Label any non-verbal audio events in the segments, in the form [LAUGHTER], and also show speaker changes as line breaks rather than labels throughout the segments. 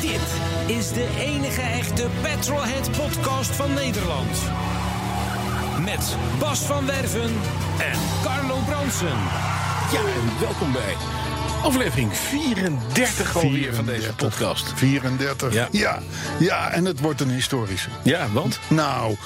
Dit is de enige echte Petrolhead podcast van Nederland. Met Bas van Werven en Carlo Bronsen.
Ja, en welkom bij aflevering 34 alweer van deze
34.
podcast.
34.
Ja.
Ja. Ja. en het wordt een historische.
Ja, want
Nou.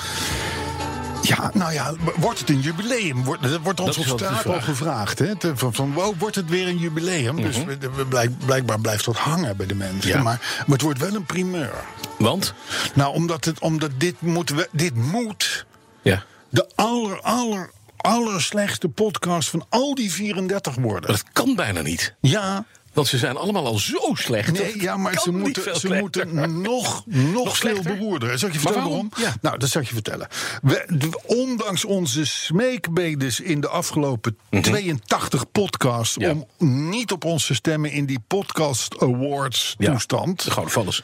Ja, nou ja, wordt het een jubileum? Wordt, dat wordt ons
is
op
altijd de
straat al
vraag.
gevraagd. Hè? Te- Van, van, wow, wordt het weer een jubileum? Dus we- we blijk- blijkbaar blijft dat hangen bij de mensen.
Mhm. Ja.
Maar, maar het wordt wel een primeur.
want
Nou, omdat, het, omdat dit, moet, we- dit moet
ja,
de aller, aller, aller slechtste podcast van al die 34
maar
worden.
dat kan bijna niet.
Ja,
Want ze zijn allemaal al zo slecht.
Nee, ja, maar
Kan
ze
niet
moeten,
veel
ze
slechter. [LAUGHS]
moeten nog, nog veel
slechter?
beroerder. Zal ik je
Maar
vertellen waarom?
waarom? Ja.
Nou, dat zal ik je vertellen. We, d- ondanks onze smeekbedes in de afgelopen 82 podcasts...
Mhm. Ja.
om niet op ons te stemmen in die podcast awards
Ja,
toestand...
de gouden vallers.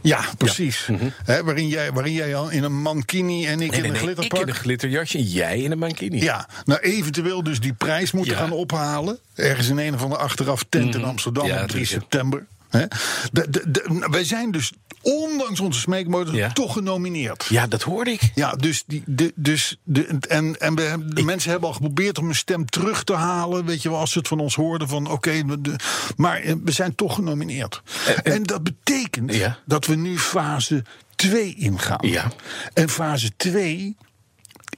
Ja, precies. Hè, waarin, jij, waarin jij al in een mankini en ik
Nee,
in
nee,
een
nee, ik
glitterpak...
in een glitterjasje en jij in een mankini.
Ja, nou eventueel dus die prijs moeten
Ja. Mhm.
gaan ophalen. Ergens in een of andere achteraf tent in Amsterdam
Ja,
op 3
natuurlijk, ja.
september. Hè? De, de, de- nou, wij zijn dus, ondanks onze smeekmodus,
Ja.
toch genomineerd.
Ja, dat hoorde ik.
Ja, dus, die, de, dus de, en, en we, hebben- de mensen hebben al geprobeerd om hun stem terug te halen. Weet je wel, als ze het van ons hoorden van oké, we- de- maar eh, we zijn toch genomineerd. En, dat betekent
Ja.
dat we nu fase 2 ingaan.
Ja.
En fase 2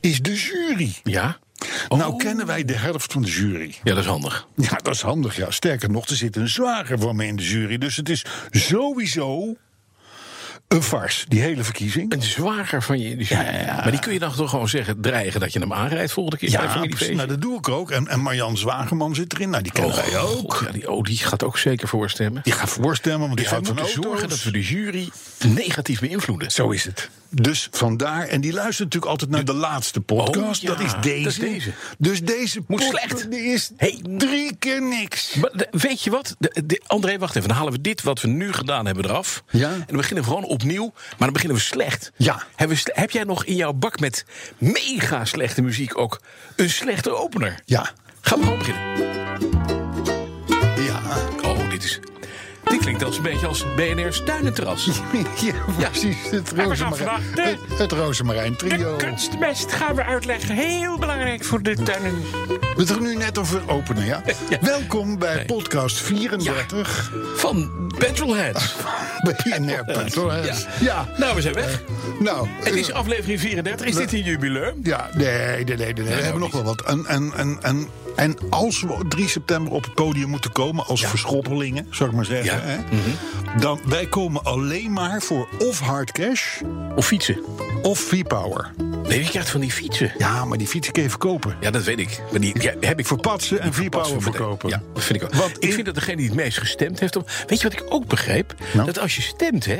is de jury.
Ja. Oh.
Nou kennen wij de helft van de jury.
Ja, dat is handig.
Ja, dat is handig. Ja. Sterker nog, er zit een zwager van me in de jury. Dus het is sowieso een farce, die hele verkiezing.
Een zwager van je. die-
Ja, ja, ja.
Maar die kun je dan toch gewoon zeggen, dreigen dat je hem aanrijdt volgende keer. bij
Ja,
familiefeest?
precies. nou, dat doe ik ook. En, en Marjan Zwagerman zit erin. Nou, die kennen wij
Oh,
ook.
ja, die, oh, die gaat ook zeker voorstemmen.
Die gaat voorstemmen, want die
Dus we
houdt van
moeten
auto's.
zorgen dat we de jury negatief beïnvloeden.
Zo is het. Dus vandaar, en die luistert natuurlijk altijd naar de laatste podcast.
Oh, ja,
dat, is
dat
deze.
is deze.
Dus deze
Moet
podcast
slecht.
die is
Hey.
drie keer niks.
Maar de- weet je wat? De, de- André, wacht even. Dan halen we dit wat we nu gedaan hebben eraf.
Ja.
En dan beginnen we gewoon opnieuw. Maar dan beginnen we slecht.
Ja.
Hebben we sle- heb jij nog in jouw bak met mega slechte muziek ook een slechte opener?
Ja.
Gaan we gewoon beginnen.
Ja.
Oh, dit is... Dit klinkt als een beetje als BNR's tuinenterras.
Ja, precies. Het
gaan
Rozemarijn,
vandaag de-
het, het Rozemarijn
De
trio.
kunstmest gaan we uitleggen. Heel belangrijk voor de tuinen.
We het er nu net over openen, ja? Welkom bij podcast 34
Van Petrolhead.
bij NR Petrol. Ja. ja,
Nou, we zijn weg.
nou...
Het
eh,
is aflevering 34. Is dit een jubileum?
ja, nee, nee, nee, nee, nee. we hebben nog
niet.
wel wat. En, en, en, en, en als we op 3 september op het podium moeten komen als verschoppelingen, zou ik maar zeggen...
Ja.
Hè, dan wij komen alleen maar voor of hard cash
Of fietsen?
of V-Power.
Nee, je krijgt van die fietsen.
Ja, maar die fiets kun je verkopen.
Ja, dat weet ik. Maar die ja, heb ik
Voor patsen en
Pas
V-Power
voor meteen.
verkopen.
Ja, dat vind ik ook.
Want
ik
in-
vind dat degene die het meest gestemd heeft... Op, weet je wat ik ook begreep?
Nou?
Dat als je stemt hè,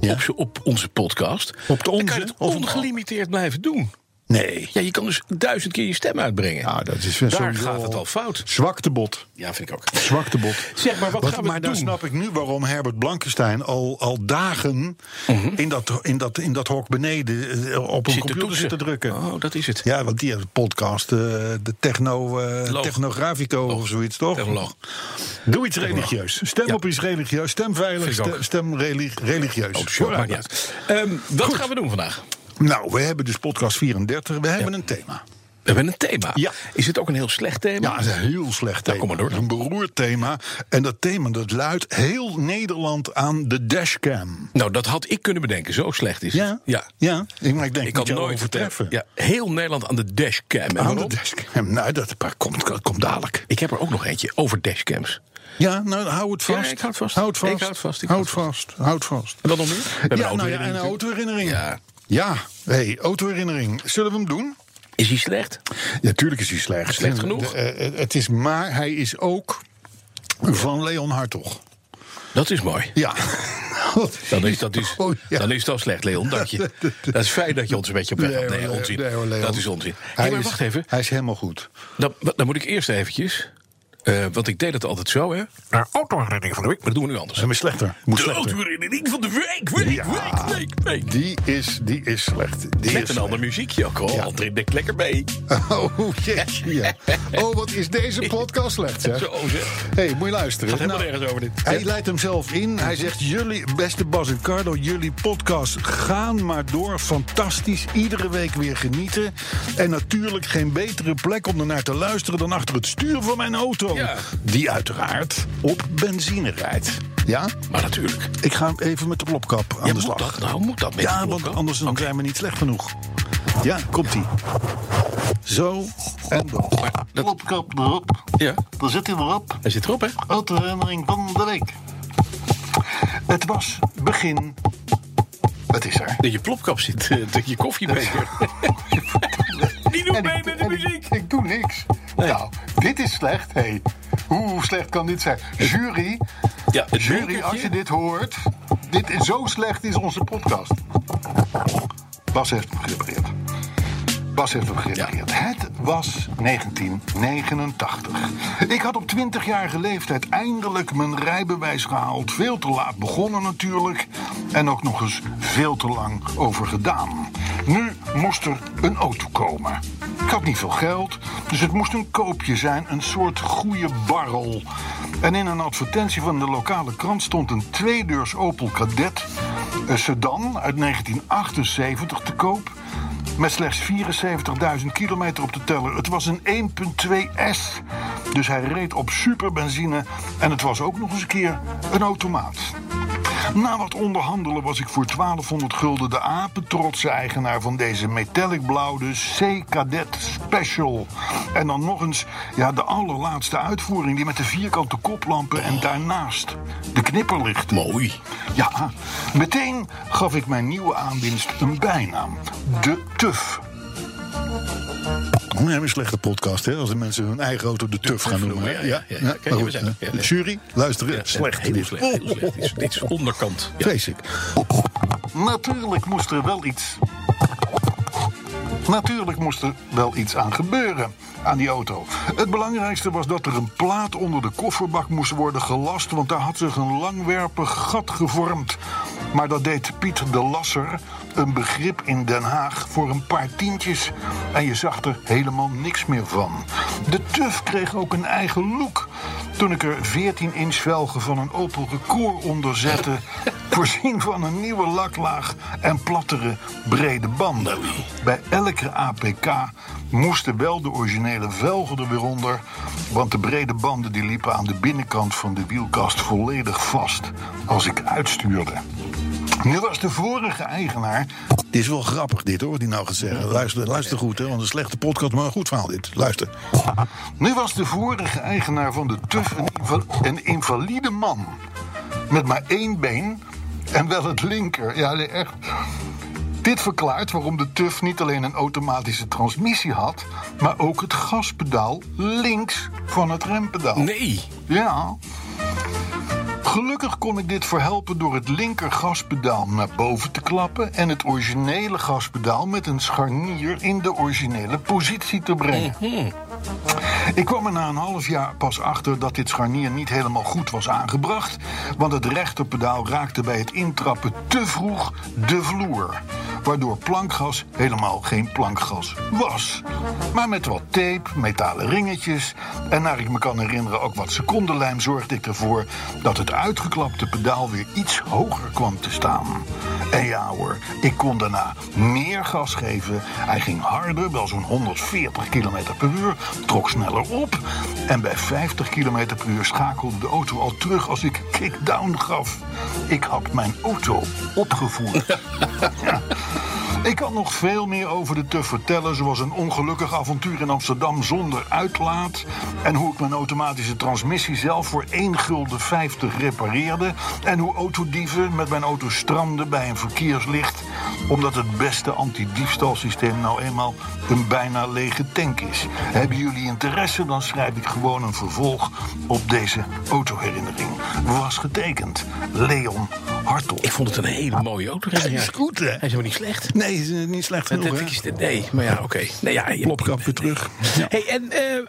Ja.
op, ze- op onze podcast...
Op de
dan kan
onze
je het
of-
ongelimiteerd blijven doen.
Nee.
Ja, je kan dus duizend keer je stem uitbrengen.
Ja, dat is eh,
Daar
sowieso
gaat het al fout.
Zwaktebot.
Ja, vind ik ook.
Zwaktebot.
Zeg maar, wat gaan we
maar dan
doen?
snap ik nu waarom Herbert Blankenstein al, al dagen in, dat, in, dat, in dat hok beneden eh, op een
Mhm. Zit te
computer
toetsen.
zit te drukken.
Oh, dat is het.
Ja, want die heeft een podcast, eh, de techno, eh
Loog.
Technografico of zoiets, toch?
Oh, Technoloog.
Doe iets religieus. Stem op iets religieus. Stem veilig.
Vind ik
Stem,
ook.
stem reli- religieus.
Oh, sure, maakt niet uit. Ehm, wat gaan we doen vandaag?
Nou, we hebben dus podcast 34. We hebben een thema.
We hebben een thema.
Ja.
Is het ook een heel slecht thema?
Ja, dat is een heel slecht thema.
kom maar door dan.
Een beroerd thema. En dat thema dat luidt heel Nederland aan de dashcam.
Nou, dat had ik kunnen bedenken. Zo slecht is het.
ja. ja. Ik, maar ik denk
Ik
dat
had
je
nooit
overtreffen.
Ja, heel Nederland aan de dashcam. En
Aan de
waarom?
dashcam. Nou, dat maar komt, dat komt dadelijk.
Ik heb er ook nog eentje over dashcams.
Ja, nou, hou het
Ja,
vast.
ik houd vast.
Hou het
Ik
vast.
houd het vast, ik
Houd
houd
vast. Houd vast.
En wat nog meer? We hebben
Ja,
een
nou ja,
autoherinnering
en een
natuurlijk.
autoherinnering.
nou- Ja.
Ja, hey, autoherinnering. Zullen we hem doen?
Is hij slecht?
Ja, tuurlijk eh, is hij slecht.
Slecht genoeg?
De- eh, het is, maar hij is ook
van Leon Hartog.
Dat is mooi. [LAUGHS]
Ja.
Dan is dat, [LAUGHS] dus,
Oh, ja.
dan is dat slecht, Leon. Dank je. [LAUGHS] Dat is fijn dat je ons een beetje op weg
Nee,
hebt.
hoor,
Nee,
Leon.
onzin.
Nee, hoor, Leon.
Dat is onzin.
Hij
Hey, maar
is-
wacht even.
Hij is helemaal goed.
Dan, dan moet ik eerst eventjes... eh, want ik deed het altijd zo, hè. Naar autoherinnering van de week. Maar dat doen we nu anders.
Hij is slechter. Moet
De
slechter.
autoherinnering van de week, week,
Ja.
week, week, week.
Die is, die is slecht. Die
Met
is
een ander muziekje ook, hoor.
Ja.
André dekt lekker mee.
[LAUGHS] Oh,
[LAUGHS]
jeetje. ja. Oh, wat is deze podcast slecht, zeg.
Zo, zeg.
Hé, hey, moet je luisteren. Nou,
Gaat helemaal nergens over dit.
Hij leidt hem zelf in. Hij zegt, jullie, beste Bas en Carlo, jullie podcast gaan maar door. Fantastisch. Iedere week weer genieten. En natuurlijk geen betere plek om ernaar te luisteren... dan achter het stuur van mijn auto.
Ja.
Die uiteraard op benzine rijdt. Ja?
Maar natuurlijk.
Ik ga even met de plopkap aan
Ja,
de
moet
slag.
dat nou? Moet dat met
Ja,
die
want
klok?
anders dan zijn we niet slecht genoeg. Ja, komt-ie. Zo en dan.
Maar dat-
Plopkap erop.
ja,
Daar zit hij weer op.
hij zit erop, hè?
Autoherinnering van de week. Het was begin. Het is er.
Dat je plopkap zit, eh, dat je koffiebeker.
[LAUGHS] Die doet
En
mee
ik-
met de
en ik-
muziek.
Ik, doe niks. Nou, dit is slecht. Hey, hoe slecht kan dit zijn? Jury,
Ja, het
jury, als je
bekertje.
dit hoort. Dit is, zo slecht is onze podcast. Bas heeft hem gerepareerd. Bas heeft hem gerepareerd. Het was 1989. Ik had op 20-jarige leeftijd eindelijk mijn rijbewijs gehaald. Veel te laat begonnen natuurlijk. En ook nog eens veel te lang over gedaan. Nu moest er een auto komen. Ik had niet veel geld, dus het moest een koopje zijn. Een soort goede barrel. En in een advertentie van de lokale krant stond een tweedeurs Opel Kadett... Een sedan uit 1978 te koop... Met slechts 74.000 kilometer op de teller. Het was een 1.2S. Dus hij reed op superbenzine. En het was ook nog eens een keer een automaat. Na wat onderhandelen was ik voor 1200 gulden de apetrotse eigenaar van deze metallic blauwe C-Cadet Special. En dan nog eens ja, de allerlaatste uitvoering, die met de vierkante koplampen en daarnaast de knipperlichten.
Mooi.
Ja, meteen gaf ik mijn nieuwe aanwinst een bijnaam. De Tuf.
We hebben een slechte podcast, hè? Als de mensen hun eigen auto de tuf gaan noemen.
ja,
hè?
ja, ja. Oké,
maar
we
goed,
zijn er.
hè.
Ja, nee.
Jury, luisteren.
Ja,
slecht.
Heel slecht. Heel slecht. Dit is- Dit is onderkant. Ja.
Vrees ik.
Natuurlijk moest er wel iets. Natuurlijk moest er wel iets aan gebeuren aan die auto. Het belangrijkste was dat er een plaat onder de kofferbak moest worden gelast, want daar had zich een langwerpig gat gevormd. Maar dat deed Piet de Lasser, een begrip in Den Haag, voor een paar tientjes. En je zag er helemaal niks meer van. De tuf kreeg ook een eigen look. Toen ik er 14 inch velgen van een Opel Record onder zette, voorzien van een nieuwe laklaag en plattere brede banden. Bij elke APK moesten wel de originele velgen er weer onder, want de brede banden die liepen aan de binnenkant van de wielkast volledig vast als ik uitstuurde. Nu was de vorige eigenaar
Dit is wel grappig, dit hoor, wat hij nou gaat zeggen. Luister, luister goed, hè? Want een slechte podcast, maar een goed verhaal dit. Luister.
Nu was de vorige eigenaar van de TUF een, inva- een invalide man. Met maar één been en wel het linker. Ja, nee, echt. Dit verklaart waarom de TUF niet alleen een automatische transmissie had... maar ook het gaspedaal links van het rempedaal.
Nee.
Ja. Gelukkig kon ik dit verhelpen door het linker gaspedaal naar boven te klappen en het originele gaspedaal met een scharnier in de originele positie te brengen. Ik kwam er na een half jaar pas achter dat dit scharnier niet helemaal goed was aangebracht, want het rechterpedaal raakte bij het intrappen te vroeg de vloer, waardoor plankgas helemaal geen plankgas was. Maar met wat tape, metalen ringetjes en naar ik me kan herinneren ook wat secondenlijm zorgde ik ervoor dat het uitgeklapte pedaal weer iets hoger kwam te staan. En ja hoor, ik kon daarna meer gas geven. Hij ging harder, wel zo'n 140 km per uur, trok sneller op. En bij 50 km per uur schakelde de auto al terug als ik kick-down gaf. Ik had mijn auto opgevoerd. Ik had nog veel meer over de tuf vertellen, zoals een ongelukkig avontuur in Amsterdam zonder uitlaat. En hoe ik mijn automatische transmissie zelf voor 1 gulden 50 repareerde. En hoe autodieven met mijn auto stranden bij een verkeerslicht. Omdat het beste antidiefstalsysteem nou eenmaal een bijna lege tank is. Hebben jullie interesse, dan schrijf ik gewoon een vervolg op deze autoherinnering. Was getekend Leon Hartog.
Ik vond het een hele mooie auto. Hij
is goed, hè?
Hij is helemaal niet slecht.
Nee, is, eh, niet slecht
Dat
genoeg,
dat
hè?
is de- nee, maar ja, oké. Nee, ja, je-
Plopkap weer terug. Ja.
Hey, en eh,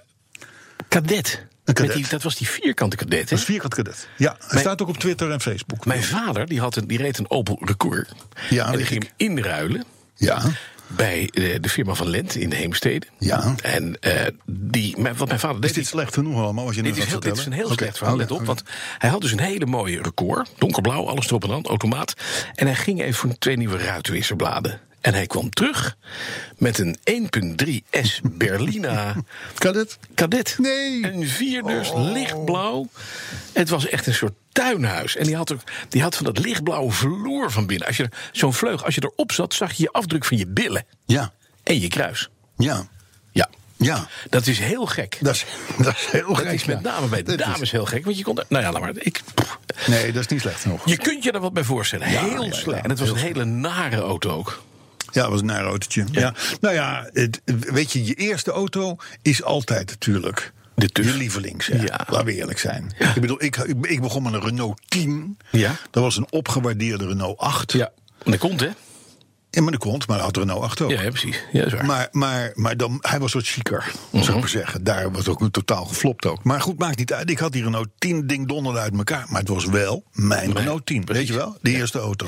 kadet. Met
kadet.
die, dat was die vierkante kadet. Hè?
Dat is vierkant cadet. Ja, hij
Mijn-
staat ook op Twitter en Facebook.
Mijn vader die had een, die reed een Opel Record.
Ja,
en die
weet
ging
ik.
hem inruilen
Ja,
bij eh, de firma van Lent in Heemstede.
Ja.
En eh, die, mijn- wat mijn vader deed...
is dit
die-
slecht genoeg allemaal als je
dit, is heel,
gaat oh,
dit is een heel slecht verhaal, let op.
wat
Want hij had dus een hele mooie record. Donkerblauw, alles erop en aan, automaat. En hij ging even voor twee nieuwe ruitwisserbladen. En hij kwam terug met een
[LAUGHS]
1.3S Berlina
Kan dit?
Kadet.
Nee. Oh.
Een vierdeurs, lichtblauw. Het was echt een soort tuinhuis. En die had, ook, die had van dat lichtblauwe vloer van binnen. Als je er- Zo'n vleug, als je erop zat, zag je je afdruk van je billen.
Ja,
En je kruis.
ja,
Ja.
ja.
Dat is heel gek.
Dat is, dat is heel
Dat
gek,
is met
ja.
name bij de
Dat is-
dames heel gek. Want je kon... er- Nou ja, laat maar. Ik, pff.
Nee, dat is niet slecht genoeg.
je kunt je er wat bij voorstellen. heel
ja,
slecht.
ja,
en het was
heel
een hele nare auto ook.
Ja, dat was een naar autootje. Ja. Nou ja, het, weet je, je eerste auto is altijd natuurlijk
De tuf.
je lievelings. Ja.
Ja.
Laten we eerlijk zijn. Ik bedoel, ik, ik, ik begon met een Renault 10.
Ja.
Dat was een opgewaardeerde Renault 8.
En dat komt, hè?
En met de kont, maar dat had Renault 8 ook.
Ja, ja, precies. Ja, dat is waar.
Oh. Maar, maar, maar dan, hij was wat chiquer,
Mhm.
zou ik maar zeggen. Daar was ook een totaal geflopt ook. Maar goed, maakt niet uit. Ik had die Renault 10 ding donder uit elkaar. Maar het was wel mijn Renault 10. Weet je wel? De eerste auto.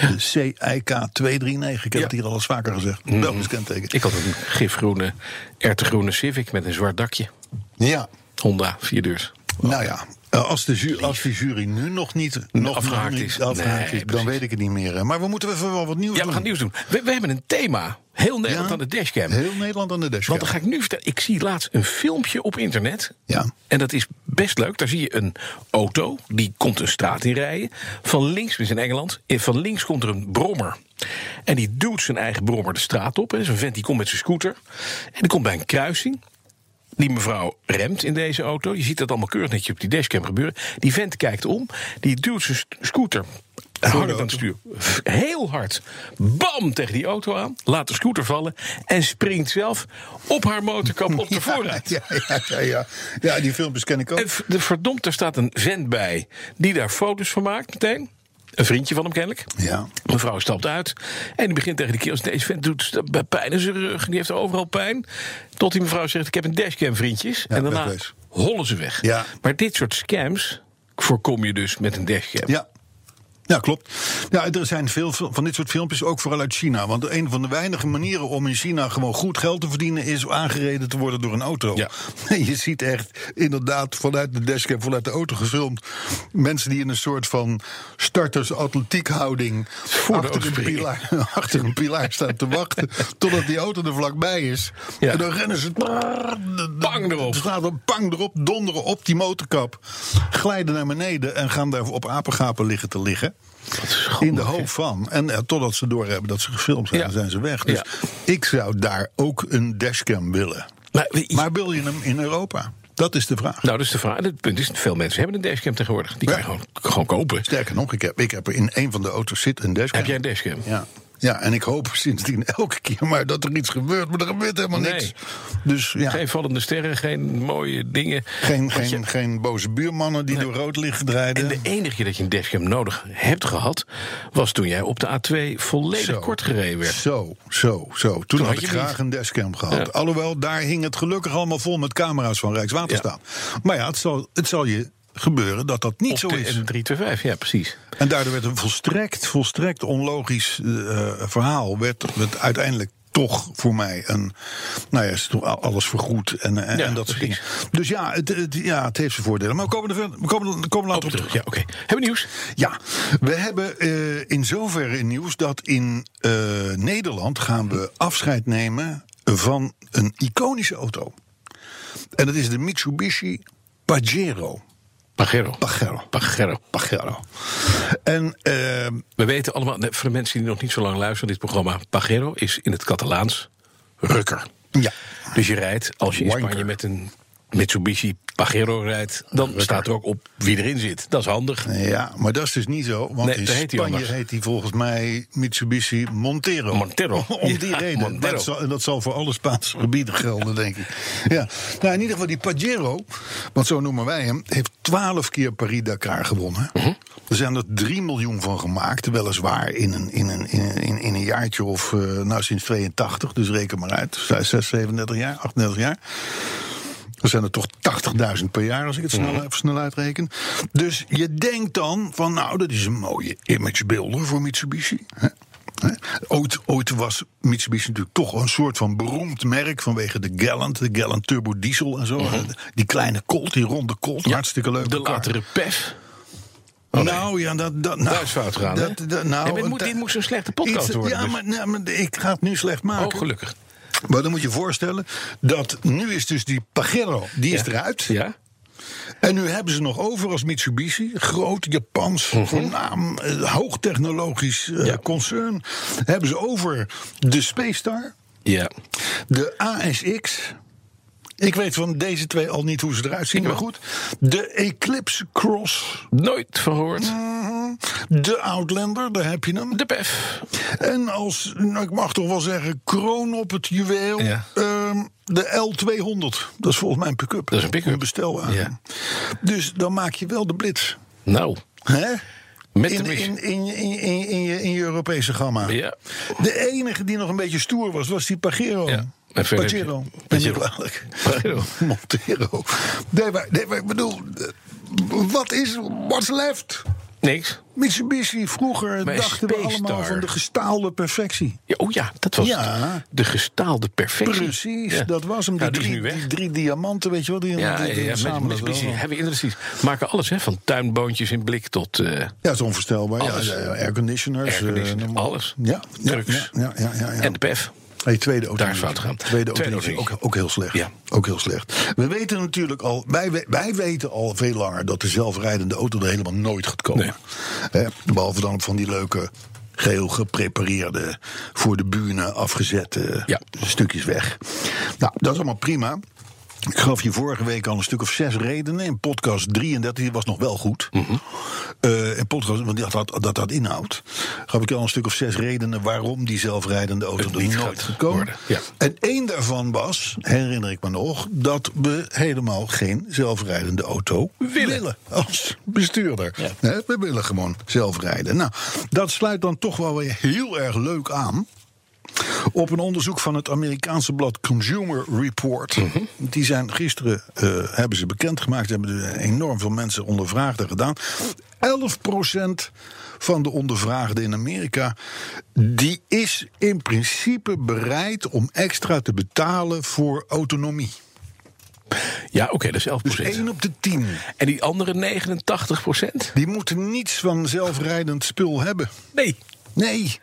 De E CIK 239. Ik heb
Ja. Mhm.
het hier al eens vaker gezegd. Belgisch kenteken.
Ik had een gifgroene, ertegroene Civic met een zwart dakje.
Ja.
Honda, vierdeurs.
Nou ja. eh, Als de, ju- als de jury nu nog niet nog
afgehaakt
niet
is.
afgehaakt
Nee,
is dan
precies.
weet ik het niet meer. hè. Maar we moeten even wel wat nieuws
Ja,
doen.
we gaan nieuws doen. We, we hebben een thema. Heel Nederland aan de dashcam.
Oh. Heel Nederland aan de dashcam.
Want dan ga ik nu vertellen. Ik zie laatst een filmpje op internet.
Ja.
En dat is best leuk. Daar zie je een auto. Die komt een straat in rijden. Van links, we zijn in Engeland. En van links komt er een brommer. En die duwt zijn eigen brommer de straat op. hè. Zo'n vent die komt met zijn scooter. En die komt bij een kruising. Die mevrouw remt in deze auto. Je ziet dat allemaal keurig netjes op die dashcam gebeuren. Die vent kijkt om. Die duwt zijn st- scooter harder dan het stuur. F- Heel hard. Bam tegen die auto aan. Laat de scooter vallen. En springt zelf op haar motorkap op de voorruit.
[LAUGHS] Ja, ja, ja, ja. ja, die filmpjes ken ik ook.
En v- de verdomd, daar staat een vent bij die daar foto's van maakt meteen. Een vriendje van hem kennelijk.
Ja.
Mevrouw stapt uit en die begint tegen de kerels. Deze vent doet pijn in zijn rug en die heeft overal pijn. Tot die mevrouw zegt, ik heb een dashcam vriendjes. en daarna
wegwezen.
hollen ze weg.
Ja.
Maar dit soort scams voorkom je dus met een dashcam.
Ja. Ja, klopt. Ja, er zijn veel fil- van dit soort filmpjes, ook vooral uit China. Want een van de weinige manieren om in China gewoon goed geld te verdienen... is aangereden te worden door een auto.
Ja.
En [LAUGHS] je ziet echt inderdaad vanuit de dashcam, vanuit de auto gefilmd... mensen die in een soort van starters-atletiek-houding...
Voor de
achter,
auto
een
springen.
pilaar- [LAUGHS] achter een pilaar staan te [LAUGHS] wachten... totdat die auto er vlakbij is.
Ja.
En dan rennen ze...
Bang erop.
Ze slaan er bang erop, donderen op die motorkap... glijden naar beneden en gaan daar op apengapen liggen te liggen. In de hoop van. En eh, totdat ze doorhebben dat ze gefilmd zijn,
Ja.
zijn ze weg. Dus
Ja.
ik zou daar ook een dashcam willen.
Maar, we-
Maar wil je hem in Europa? Dat is de vraag.
nou, dus de vraag. Het punt is, veel mensen hebben een dashcam tegenwoordig. Die
Ja.
kan je gewoon, gewoon kopen.
Sterker nog, ik heb, ik heb er in een van de auto's zit een dashcam.
Heb jij een dashcam?
Ja. Ja, en ik hoop sindsdien [LAUGHS] elke keer maar dat er iets gebeurt. Maar er gebeurt helemaal
Nee.
niks. Dus ja,
Geen vallende sterren, geen mooie dingen.
geen,
Want je-
geen, geen boze buurmannen die door rood licht draaien.
En de enige keer dat je een dashcam nodig hebt gehad... was toen jij op de A2 volledig
Zo.
kort gereden werd.
Zo, zo, zo. Toen, had,
had
ik
je
graag
niet.
een dashcam gehad. Alhoewel, daar hing het gelukkig allemaal vol met camera's van Rijkswaterstaat. Maar ja, het zal, het zal je gebeuren dat dat niet
Op
zo
de
is.
N325, ja precies.
En daardoor werd een volstrekt, volstrekt onlogisch eh, verhaal... werd, werd uiteindelijk toch voor mij een... Nou ja, is toch al- alles vergoed en, en,
Ja,
en dat soort dingen.
precies.
Dus ja het, het- ja, het heeft zijn voordelen. Maar we komen er, verder- we komen, er- we komen later
Op
op terug.
terug, ja oké. Hebben we nieuws?
Ja, we hebben eh, in zoverre nieuws dat in eh, Nederland gaan we afscheid nemen van een iconische auto. En dat is de Mitsubishi Pajero.
Pagero.
Pagero.
Pagero.
Pagero. En eh,
We weten allemaal, nee, voor de mensen die nog niet zo lang luisteren, dit programma. Pagero is in het Catalaans rukker.
ja,
Dus je rijdt, als je in
Wanker.
Spanje met een Mitsubishi Pagero rijdt, dan staat er ook op wie erin zit. Dat is handig.
ja, maar dat is dus niet zo. Want
Nee,
in
dat heet hij
Spanje
anders.
heet hij volgens mij Mitsubishi Montero.
Montero.
[LAUGHS] Om die
Ja,
reden. Maar
Montero.
Dat, zal, dat zal voor alle Spaanse gebieden gelden, denk ik. Ja. Nou, in ieder geval die Pajero, want zo noemen wij hem, heeft twaalf keer Paris-Dakar gewonnen.
Mhm.
Er zijn er 3 miljoen van gemaakt. Weliswaar in een, in een, in een, in een jaartje of, eh, nou sinds 82, dus reken maar uit. 6, 37 jaar, 38 jaar. Er zijn er toch 80.000 per jaar, als ik het
Mhm.
snel, even snel uitreken. Dus je denkt dan van, nou, dat is een mooie imagebeelder voor Mitsubishi. Hè? Hè? Ooit, ooit was Mitsubishi natuurlijk toch een soort van beroemd merk... vanwege de Gallant, de Gallant Turbo Diesel en zo. Die kleine Colt, die ronde Colt, hartstikke leuk.
Mhm. De latere PEF.
Nou ja, dat... dat nou,
Daar is fout gegaan, hè?
dat, dat, nou,
Nee, maar dit moet-
dat-
dit moet zo'n slechte podcast
iets-
worden,
Ja,
dus.
maar, nee, maar ik ga het nu slecht maken.
Oh, gelukkig.
Maar dan moet je voorstellen dat nu is dus die Pajero, die is
Ja.
eruit.
Ja?
En nu hebben ze nog over als Mitsubishi, groot Japans, voornaam, eh, hoogtechnologisch eh,
Mhm. Ja.
concern. Hebben ze over de Space Star,
Ja.
de ASX. Ik weet van deze twee al niet hoe ze eruit zien, maar goed. De Eclipse Cross,
Nooit van gehoord.
de Outlander, daar heb je hem.
Mhm. De PEF.
En als, nou, ik mag toch wel zeggen, kroon op het juweel.
Ja.
ehm, de L200. Dat is volgens mij een pick-up.
Dat is een pick-up.
bestelwagen.
Ja.
Dus dan maak je wel de blitz.
Nou,
Hè?
met
In,
de mis-
in, in, in, in, in je, in je Europese gamma.
Ja.
De enige die nog een beetje stoer was, was die Pagero.
Ja. En verder heb je-
Pagero. Ben je
Pajero.
kwalijk? [LAUGHS]
Pajero.
Montero. Nee maar, nee, maar ik bedoel... eh, Wat is... What's left?
Niks.
Mitsubishi vroeger
Maar
dachten we
Space
allemaal
Star.
van de gestaalde perfectie.
Ja, oh ja, dat was
Ja.
het. de gestaalde perfectie.
Precies,
Ja.
dat was hem. Die,
Nou, die is
drie,
nu weg.
die drie diamanten, weet je wel? Die, die-
Ja,
die,
ja,
die
ja, met
samen dat
Mitsubishi
wel.
hebben inderdaad precies. Maken alles, hè, van tuinboontjes in blik tot eh
Ja, het is onvoorstelbaar. Ja,
Alles.
ja, ja, airconditioners.
airconditioning,
eh, noem maar op.
alles.
Ja, ja,
Trucks.
Ja, ja, ja, ja, ja.
En de PEF.
Hey, tweede auto.
Daar is fout gegaan.
Tweede,
Tweede
auto. Ook,
auto.
ook heel slecht.
Ja.
Ook heel slecht. We weten natuurlijk al, wij, we- wij weten al veel langer dat de zelfrijdende auto er helemaal nooit gaat komen. Hè, behalve dan op van die leuke geheel geprepareerde, voor de buren afgezette
Ja.
stukjes weg. Nou, dat is allemaal prima. Ik gaf je vorige week al een stuk of zes redenen. In podcast 33, die was nog wel goed.
Mhm.
Eh, in podcast, want dat had, dat had inhoud. Gaf ik je al een stuk of zes redenen waarom die zelfrijdende auto
Het
er
niet
nooit
gaat
gaat komen.
worden, ja.
En één daarvan was, herinner ik me nog, dat we helemaal geen zelfrijdende auto willen. als bestuurder. Hè, We willen gewoon zelfrijden. Nou, dat sluit dan toch wel weer heel erg leuk aan. Op een onderzoek van het Amerikaanse blad Consumer Report. Die zijn gisteren, eh, hebben ze bekendgemaakt, hebben er enorm veel mensen ondervraagd en gedaan. 11% van de ondervraagden in Amerika, die is in principe bereid om extra te betalen voor autonomie.
Ja, oké, dat is 11
Dus 1 op de 10.
En die andere 89 procent?
Die moeten niets van zelfrijdend spul hebben.
Nee.
Nee,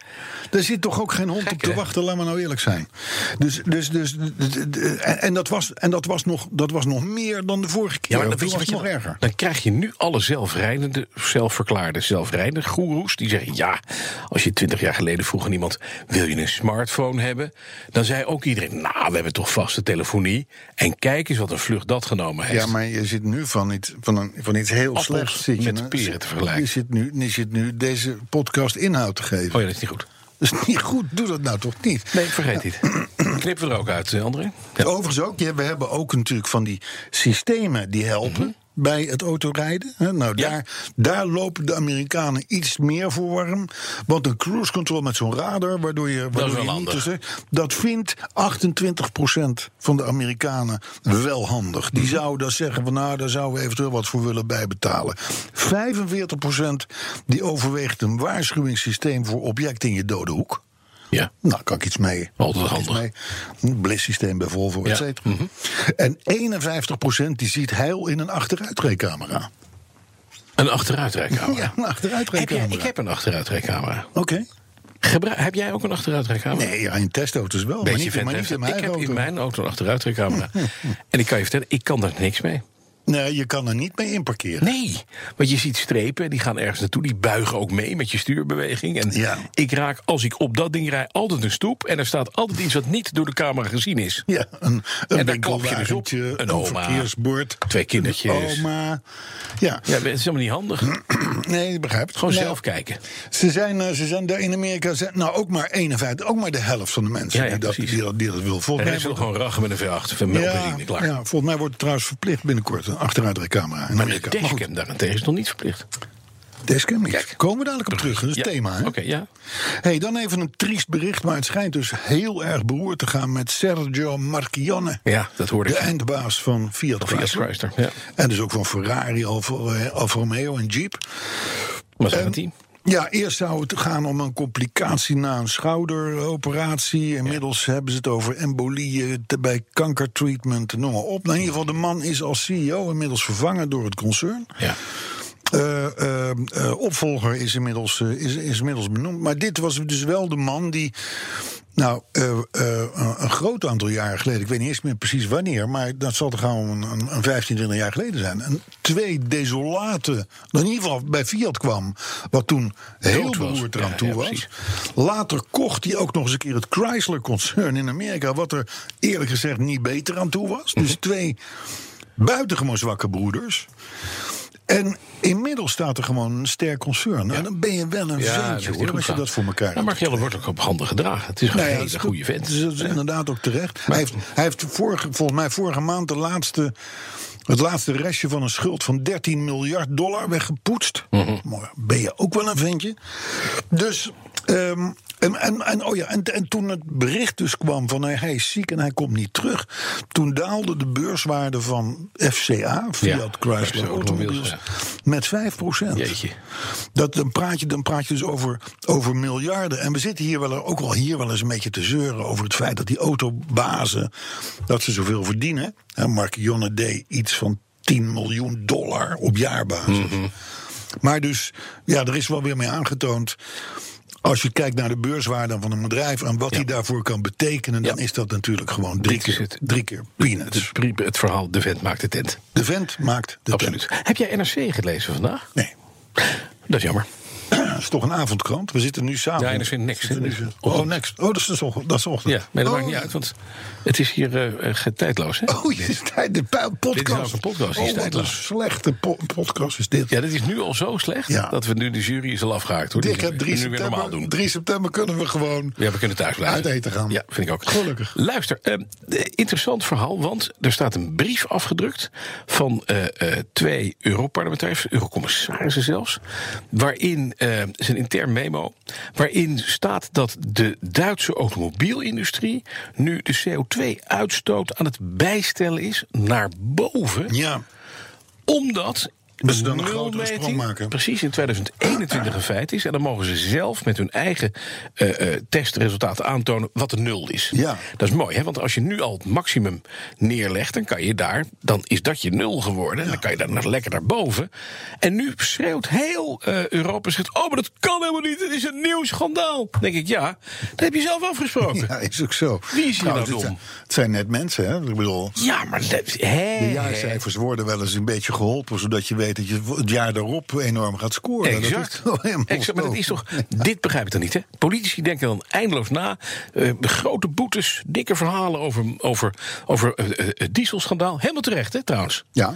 er zit toch ook geen hond op te
hè?
wachten, laat maar nou eerlijk zijn. Dus, dus, dus, d- d- d- en, en dat was, en dat was, nog, dat was nog meer dan de vorige keer.
Ja, maar dan,
Toen
weet je,
was
wat
het
je
nog
dan-
erger.
dan krijg je nu alle zelfrijdende, zelfverklaarde zelfrijdende goeroes. Die zeggen, ja, als je twintig jaar geleden vroeg aan iemand... wil je een smartphone hebben? Dan zei ook iedereen, nou, we hebben toch vaste telefonie. En kijk eens wat een vlucht dat genomen heeft.
Ja, maar je zit nu van iets, van een, van iets heel
Appels
slechts. Zit je
met
nou-
peren te vergelijken.
Je zit, nu, je zit nu deze podcast inhoud te geven.
Oh ja, dat is niet goed.
Dat is niet goed, doe dat nou toch niet.
Nee, ik vergeet dit. [CLEARS THROAT] Knippen we er ook uit, eh, André? Ja.
Overigens ook, ja, we hebben ook natuurlijk van die systemen die helpen bij het autorijden. hè. Nou,
Mhm. Ja.
daar, daar lopen de Amerikanen iets meer voor warm. Want een cruise control met zo'n radar, waardoor je, waardoor
wel
je niet
handig.
tussen- dat vindt 28% van de Amerikanen wel handig.
Mhm.
Die zouden dat zeggen van nou, daar zouden we eventueel wat voor willen bijbetalen. 45% die overweegt een waarschuwingssysteem voor objecten in je dode hoek.
ja.
Nou, kan ik iets mee.
Altijd
Kan ik iets
handig.
mee. Een blissysteem bij Volvo, et
Ja. Mhm.
cetera. En 51% die ziet heil in een achteruitrijcamera.
Een achteruitrijcamera.
Ja, een
Nou, Heb jij,
achteruitrijcamera.
ik heb een achteruitrijcamera.
Oké.
Gebruik, heb jij ook een achteruitrijcamera?
Nee, ja, in testauto's wel. maar
Beetje
niet, maar
vent,
niet
hè?
in mijn
Ik
eigen
heb in
auto. [LAUGHS]
mijn auto een achteruitrijcamera. en ik kan je vertellen, ik kan daar niks mee.
Nee, je kan er niet mee in parkeren.
Nee, want je ziet strepen, die gaan ergens naartoe. Die buigen ook mee met je stuurbeweging. En
Ja.
ik raak, als ik op dat ding rij, altijd een stoep. En er staat altijd iets wat niet door de camera gezien is.
Ja, een, een
En daar klap je dus op.
winkelwagentje,
Een
een,
oma,
verkeersbord.
twee kindertjes.
Een oma. Ja,
Ja, dat is helemaal niet handig.
nee, ik begrijp het.
Gewoon
Nee,
zelf kijken.
Ze zijn, eh, ze zijn daar in Amerika, zijn, nou ook maar 51, ook maar de helft van de mensen
Ja, ja,
die, dat,
precies.
die, dat, die dat wil.
En
Volgens
hij
mij
is
wordt-
gewoon rachen met een V8 van
ja,
melkbenzine, klaar.
ja, volgens mij wordt het trouwens verplicht binnenkort een achteruitrijcamera in
Maar de
Amerika. Maar goed,
dashcam daarentegen is nog niet verplicht.
dashcam niet. Komen we dadelijk op terug, dat is
Ja.
het thema.
Oké,
Hè?
ja.
Hey, dan even een triest bericht, maar het schijnt dus heel erg beroerd te gaan met Sergio Marchionne.
Ja, dat hoorde
De
ik.
eindbaas van Fiat
Fiat
Chrysler.
Chrysler, ja.
En dus ook van Ferrari, Alfa, eh, Alfa Romeo en Jeep.
Was dat het team?
Ja, eerst zou het gaan om een complicatie na een schouderoperatie. Inmiddels hebben ze het over embolieën te- bij kankertreatment, noem maar op. Nou, in ieder geval, de man is als CEO inmiddels vervangen door het concern.
Ja.
Eh, eh, eh, opvolger is inmiddels, eh, is, is inmiddels benoemd. Maar dit was dus wel de man die. Nou, eh, eh, een- een groot aantal jaren geleden, ik weet niet eens meer precies wanneer, maar dat zal toch gewoon een, een, een 15, 20 jaar geleden zijn. Een twee desolate, in ieder geval bij Fiat kwam, wat toen heel
Dood was.
beroerd eraan
Ja,
toe
ja,
was.
precies.
Later kocht hij ook nog eens een keer het Chrysler-concern in Amerika, wat er eerlijk gezegd niet beter aan toe was.
Mhm.
Dus twee buitengewoon zwakke broeders. En inmiddels staat er gewoon een sterk concern. Nou, dan ben je wel een
Ja,
ventje hoor, als je dat voor elkaar
Maar
hebt.
Margiela wordt ook op handen gedragen. Het is gewoon
Nou ja,
een hele
dat-
goede vent.
Dat is, dat is inderdaad ook terecht. hij heeft, hij heeft vorige, volgens mij vorige maand de laatste, het laatste restje van een schuld van 13 miljard dollar weggepoetst.
Mhm.
Mooi, ben je ook wel een ventje. Dus, ehm, en, en, en, oh ja, en, en toen het bericht dus kwam van hey, hij is ziek en hij komt niet terug. Toen daalde de beurswaarde van FCA, Fiat
Ja,
Chrysler
Chrysler Automobiles,
Automobiles,
ja.
met 5 procent.
Jeetje.
Dat, dan, praat je, dan praat je dus over, over miljarden. En we zitten hier wel, ook wel hier wel eens een beetje te zeuren over het feit dat die autobazen dat ze zoveel verdienen. En Mark Jonne deed iets van 10 miljoen dollar op jaarbasis.
Mhm.
Maar dus, ja, er is wel weer mee aangetoond. Als je kijkt naar de beurswaarde van een bedrijf en wat die daarvoor kan betekenen, dan
Ja.
is dat natuurlijk gewoon drie
Dit is
keer,
het.
drie keer
Het,
peanuts.
is pri- het verhaal, de vent maakt de tent.
De vent maakt de
Absoluut. Heb jij NRC gelezen vandaag?
tent. Nee.
Dat is jammer.
Dat is toch een avondkrant? We zitten nu samen.
Ja, en er vindt niks,
We zitten
hè?
nu zo-
Of-
Oh, next. Oh, dat is, dus och- dat is ochtend.
Ja, nee, dat
oh,
maakt niet uit, want het is hier eh, eh, tijdloos. Hè?
Oh, je is tijd- de pu- podcast.
Dit is ook een podcast, die is
Oh, wat een
tijdloos.
slechte po- podcast is dit.
Ja, dat is nu al zo slecht
Ja.
dat we nu de jury is al afgehaakt. Hoor. Die
Dick, hè,
kunnen
3
nu weer normaal doen.
september, 3 september kunnen we gewoon...
Ja, we kunnen thuis blijven.
Uit eten gaan.
Ja, vind ik ook.
Gelukkig.
Luister, eh, de- interessant verhaal, want er staat een brief afgedrukt van eh, eh, twee Europarlementariërs, Eurocommissarissen zelfs, waarin, eh, het is een intern memo, waarin staat dat de Duitse automobielindustrie nu de CO2-uitstoot aan het bijstellen is naar boven
Ja,
omdat
Dus dan een
nulmeting
grotere sprong maken.
precies in 2021 een feit is. En dan mogen ze zelf met hun eigen eh, eh, testresultaten aantonen wat de nul is.
Ja.
Dat is mooi, hè? want als je nu al het maximum neerlegt... dan, kan je daar, dan is dat je nul geworden. En dan kan je daar nog lekker naar boven. En nu schreeuwt heel eh, Europa... Zegt, oh, maar dat kan helemaal niet, het is een nieuw schandaal. Dan denk ik, ja, dat heb je zelf afgesproken.
ja, is ook zo.
Wie is hier
Trouwens,
nou
het
dom?
zijn- Het zijn net mensen, hè? Ik bedoel...
Ja, maar dat, hè,
De
hè.
jaarcijfers worden wel eens een beetje geholpen, zodat je weet dat je het jaar daarop enorm gaat scoren. Oh, nou, Dat is [LAUGHS]
Exact.
wel helemaal
exact. Maar dat
zo.
is toch. [LAUGHS] Dit begrijp ik dan niet, hè? Politici denken dan eindeloos na. eh, grote boetes, dikke verhalen over, over, over eh, eh, het dieselschandaal. Helemaal terecht, hè, trouwens.
Ja,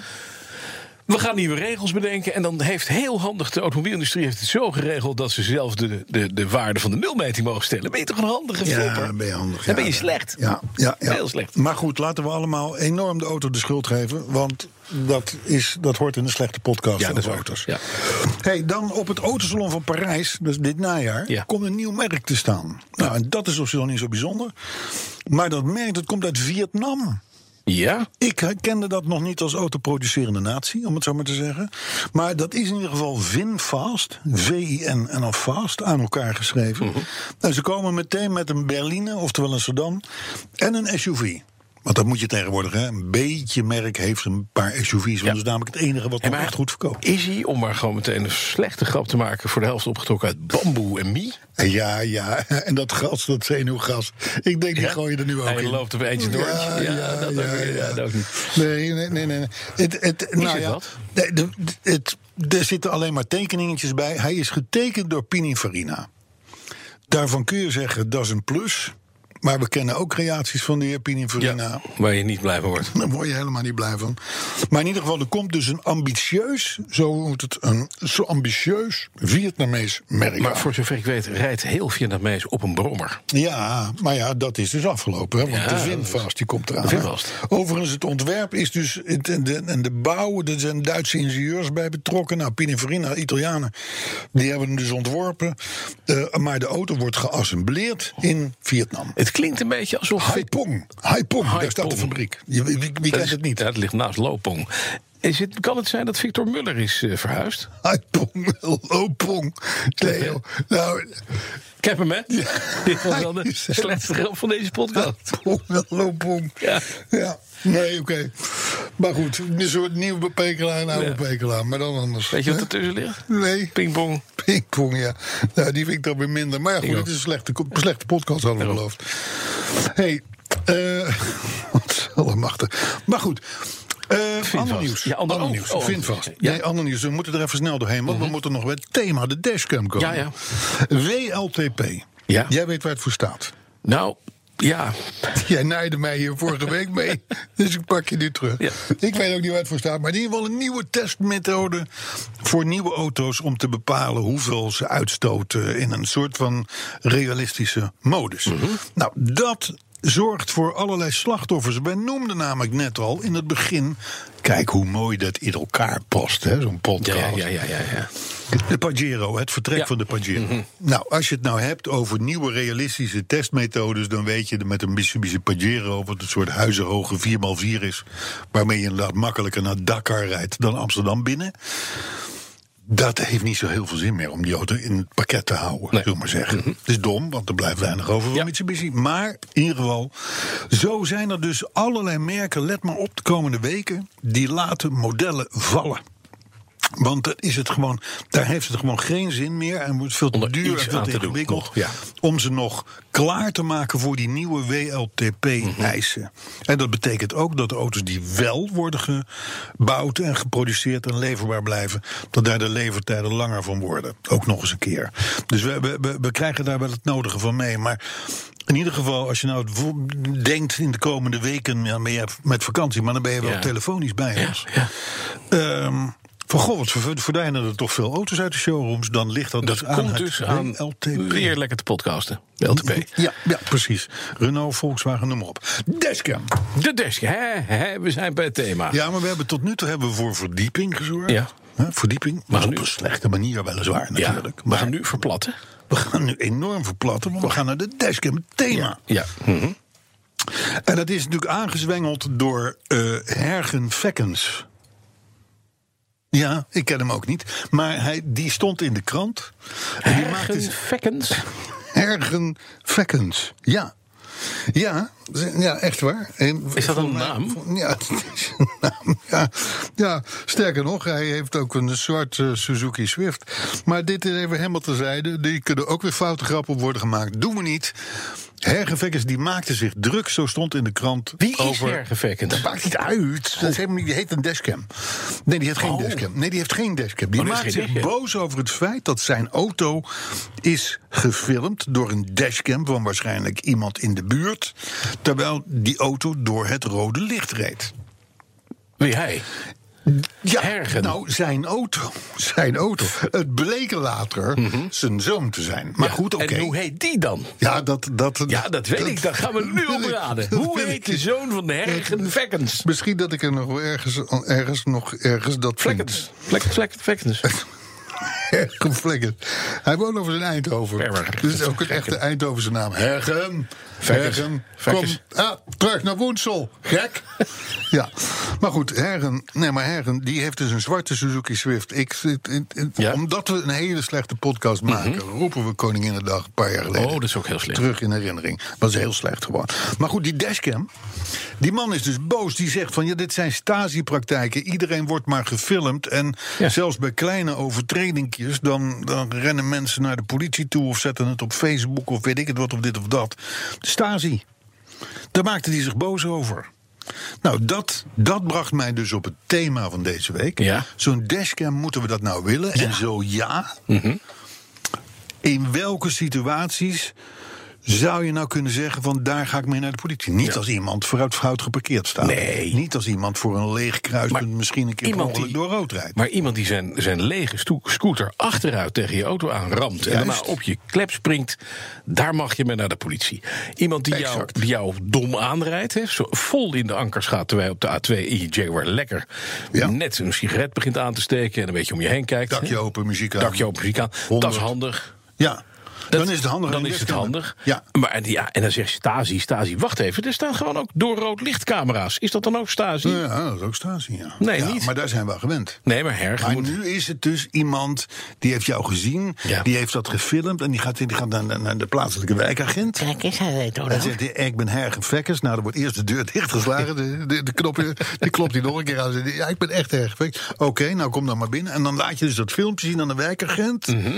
We gaan nieuwe regels bedenken. En dan heeft heel handig de automobielindustrie heeft het zo geregeld dat ze zelf de, de, de waarde van de nulmeting mogen stellen. Ben je toch een handige
Ja,
flopper?
dan ben je handig.
Dan
ja.
ben je slecht.
Ja, ja, ja.
Heel slecht.
Maar goed, laten we allemaal enorm de auto de schuld geven. Want dat, is, dat hoort in een slechte podcast
Ja, dat
over
is waar.
auto's.
Ja.
Hey, dan op het autosalon van Parijs, dus dit najaar,
Ja.
komt een nieuw merk te staan. Nou, en dat is op zich nog niet zo bijzonder. Maar dat merk, dat komt uit Vietnam.
Ja?
Ik kende dat nog niet als autoproducerende natie, om het zo maar te zeggen. Maar dat is in ieder geval VinFast, V-I-N en dan Fast, aan elkaar Nou, geschreven. En ze komen meteen met een Berline, oftewel een sedan, en een SUV. Want dat moet je tegenwoordig, hè? Een beetje merk heeft een paar SUV's. Want dat is namelijk het enige wat
En
nog
maar-
echt goed verkoopt.
Is hij, om maar gewoon meteen een slechte grap te maken, voor de helft opgetrokken uit bamboe en mie?
Ja, ja. [LAUGHS] En dat gas, dat zenuwgas. Ik denk, die
Ja?
gooi je er nu ook
Hij
in.
loopt op eentje door.
Ja,
Ja,
ja,
dat ook
ja,
weer. Ja, dat ook niet.
Nee, nee, nee. nee. nee. Het, het, nou
het
ja,
wat?
nee, de- de- het, er zitten alleen maar tekeningetjes bij. Hij is getekend door Pininfarina. Daarvan kun je zeggen, dat is een plus. Maar we kennen ook creaties van de heer Pininfarina.
Ja, waar je niet blij van wordt.
Daar word je helemaal niet blij van. Maar in ieder geval, er komt dus een ambitieus, zo moet het, een zo ambitieus Vietnamees merk.
Maar
aan.
voor zover ik weet, rijdt heel Vietnamees op een brommer.
Ja, maar ja, dat is dus afgelopen. Hè? Want
Ja,
de
dat is-
Vinfast die komt eraan.
De
hè.
Vinfast.
Overigens, het ontwerp is dus. het- En de, en de bouw, er zijn Duitse ingenieurs bij betrokken. Nou, Pininfarina, Italianen, die hebben hem dus ontworpen. Eh, maar de auto wordt geassembleerd in Vietnam.
Het klinkt een beetje alsof...
Haipong, Haipong, daar staat de
Haipong.
fabriek. Je- Wie, wie, wie
Dat
kent
is-
het niet?
Ja, het ligt naast Lopong. Is het, kan het zijn dat Victor Muller is eh, verhuisd?
Haipong, [LAUGHS] Lopong, Theo. Nou,
Ik heb hem, hè? [LAUGHS] Dit was wel
[LAUGHS] hij
de
is-
slechtste grap van deze podcast.
[LAUGHS] Pong, loopong.
Ja.
oh, ja. Nee, oké. Maar goed, een soort nieuwe bepekelaar en oude
Ja.
bepekelaar. Maar dan anders.
Weet je wat
Hè?
ertussen ligt?
Nee,
Pingpong.
pingpong, ja. Nou, die vind ik dan weer minder. Maar ja, goed,
ook.
het is een slechte, een slechte podcast, hadden we
Daarom.
beloofd. hey, eh, [LAUGHS] wat allemachtig. Maar goed. eh ander
Vinfast.
nieuws.
Ja, ander- oh,
nieuws.
oh, ander-
Vinfast.
ja. Mhm.
Nee, ander nieuws. We moeten er even snel doorheen, want we moeten nog bij het thema, de dashcam komen.
Ja, ja.
WLTP.
Ja.
Jij weet waar het voor staat.
Nou, ja.
[LAUGHS] Jij naaide mij hier vorige week mee, dus ik pak je nu terug.
Ja.
Ik weet ook niet waar het voor staat, maar in ieder geval een nieuwe testmethode voor nieuwe auto's om te bepalen hoeveel ze uitstoten in een soort van realistische modus.
Mhm.
Nou, dat zorgt voor allerlei slachtoffers. Wij noemden namelijk net al in het begin, kijk hoe mooi dat in elkaar past, hè, zo'n
Ja,
podcast.
ja, ja, ja, ja. ja.
De Pajero, het vertrek
Ja. Mhm.
van de Pajero. Nou, als je het nou hebt over nieuwe realistische testmethodes... dan weet je dat met een Mitsubishi Pajero... wat een soort huizenhoge 4x4 is... waarmee je inderdaad makkelijker naar Dakar rijdt dan Amsterdam binnen... dat heeft niet zo heel veel zin meer om die auto in het pakket te houden,
Nee. Mhm.
zullen we maar zeggen. Het is dom, want er blijft weinig over van
Ja.
Mitsubishi. Maar in ieder geval, zo zijn er dus allerlei merken... let maar op de komende weken, die laten modellen vallen... Want dan is het gewoon, daar heeft het gewoon geen zin meer. En wordt veel te
Om er
duur
iets
en veel
aan
te
te doen
ingewikkeld.
nog, ja.
Om ze nog klaar te maken voor die nieuwe
Mhm.
WLTP-eisen. En dat betekent ook dat de auto's die wel worden gebouwd en geproduceerd en leverbaar blijven, dat daar de levertijden langer van worden. Ook nog eens een keer. Dus we, we, we- we krijgen daar wel het nodige van mee. Maar in ieder geval, als je nou het vo- denkt in de komende weken, ja, ben je met vakantie, maar dan ben je wel
Ja.
telefonisch bij
Ja,
ons.
ja.
Ehm, van goh, wat ver- verdwijnen er toch veel auto's uit de showrooms? Dan ligt dat,
Dat
dus aan
komt
het
dus aan
LTP.
weer lekker te podcasten. LTP.
Ja, ja, precies. Renault, Volkswagen, noem maar op. Dashcam.
[LAUGHS] De desk. Hè, hè, we zijn bij het thema.
Ja, maar we hebben tot nu toe hebben we voor verdieping gezorgd.
Ja.
Hè, verdieping. Maar
Maar
op
nu-
een slechte manier weliswaar
Ja,
natuurlijk.
we
maar
gaan nu verplatten.
we gaan nu enorm verplatten, want we gaan naar de dashcam. het Thema.
Ja. Mhm.
En dat is natuurlijk aangezwengeld door eh Hergen Vekkens. Ja, ik ken hem ook niet. Maar hij, die stond in de krant. En die maakte
Ergens vekkens.
Hergen Vekkens. Ja. Ja, z- ja, echt waar. En
Is dat een
volgens mij-
naam?
vol- Ja, [LAUGHS] het is een naam. Ja, ja, sterker nog, hij heeft ook een soort eh, Suzuki Swift. Maar dit is even helemaal terzijde. Die kunnen ook weer foute grappen op worden gemaakt. Doen we niet. Hergen Vekkens die maakte zich druk, zo stond in de krant.
Wie is
over...
Hergen Vekkens?
Dat maakt niet uit. Dat is helemaal niet- die heet een dashcam. Nee, die heeft geen
Oh.
dashcam. Nee, die heeft geen dashcam. Die
Oh, dat is
maakt
geen
zich
dashcam.
boos over het feit dat zijn auto is gefilmd door een dashcam van waarschijnlijk iemand in de buurt. Terwijl die auto door het rode licht reed.
Wie hij?
Ja,
Hergen.
nou, zijn auto. [LAUGHS] Zijn auto. Het bleek later zijn zoon te zijn. Maar
Mhm. Ja,
goed, oké.
En hoe heet die dan?
Ja, dat, dat,
Ja, dat weet ik. Dat gaan
[LAUGHS]
we nu
wil ik-
opraden.
dat
Hoe
wil
heet
ik
de
niet.
zoon van de Hergen Vekkens?
Misschien dat ik er nog wel ergens, ergens, nog ergens dat
Vlekkens. Vlekkens. Vlekkens. Vlekkens.
[LAUGHS] Hergen Vlekken. Hij woont over in Eindhoven.
Verwerken.
Dus het is ook een echte Eindhovense naam. Hergen.
Vekkers.
Hergen. Kom.
Vekkers.
Ah, Terug naar Woensel, gek. ja, maar goed, Herren, nee, maar Herren, die heeft dus een zwarte Suzuki Swift. Ik, zit in- in-
Ja. Mhm.
Omdat we een hele slechte podcast maken, roepen we Koninginnedag een paar jaar geleden.
Oh, dat is ook heel slim.
Terug in herinnering. Was heel slecht gewoon. Maar goed, die dashcam. Die man is dus boos. Die zegt van, ja, dit zijn stasi-praktijken. Iedereen wordt maar gefilmd. En
Ja.
zelfs bij kleine overtredingjes... Dan, dan rennen mensen naar de politie toe... of zetten het op Facebook of weet ik het wat, of dit of dat. De stasi. Daar maakte hij zich boos over. Nou, dat, dat bracht mij dus op het thema van deze week.
Ja.
Zo'n dashcam, moeten we dat nou willen? En zo ja.
Mhm.
In welke situaties zou je nou kunnen zeggen van daar ga ik mee naar de politie? Niet als iemand vooruit fout geparkeerd staat.
Nee.
Niet als iemand voor een leeg kruispunt misschien een keer per
iemand
ongeluk
die-
door rood rijdt.
Maar iemand die zijn, zijn lege stoe- scooter achteruit tegen je auto aanramt... en
Juist.
daarna op je klep springt, daar mag je mee naar de politie. Iemand die jou,
Exact.
die jou dom aanrijdt, hè, zo vol in de ankers gaat... terwijl je op de A2 in je Jaguar lekker
Ja.
net een sigaret begint aan te steken... en een beetje om je heen kijkt.
Dakje
hè.
open, muziek aan.
Dakje open, muziek aan. Dat is
Honderd.
handig.
Ja, dan is het handig.
Dan
een
is het
liftcam.
handig.
Ja.
Maar, en, ja, en dan zegt Stasi, Stasi, wacht even. Er staan gewoon ook doorrood lichtcamera's. Is dat dan ook Stasi?
ja, dat is ook stasi, ja.
Nee,
Ja,
niet.
Maar daar zijn we aan gewend.
Nee, maar Herg
Maar
moet...
nu is het dus iemand die heeft jou gezien,
Ja.
die heeft dat gefilmd en die gaat, die gaat naar, naar- naar de plaatselijke wijkagent.
Kijk eens, hij weet
En zegt, hij, ik ben Hergen Vekkers. Nou, dan wordt eerst de deur dichtgeslagen. De, de, de knopje, die klopt hij nog een keer aan. Zegt hij, Ja, ik ben echt Hergen Vekkers. Oké, nou kom dan maar binnen. En dan laat je dus dat filmpje zien aan de wijkagent.
Mhm.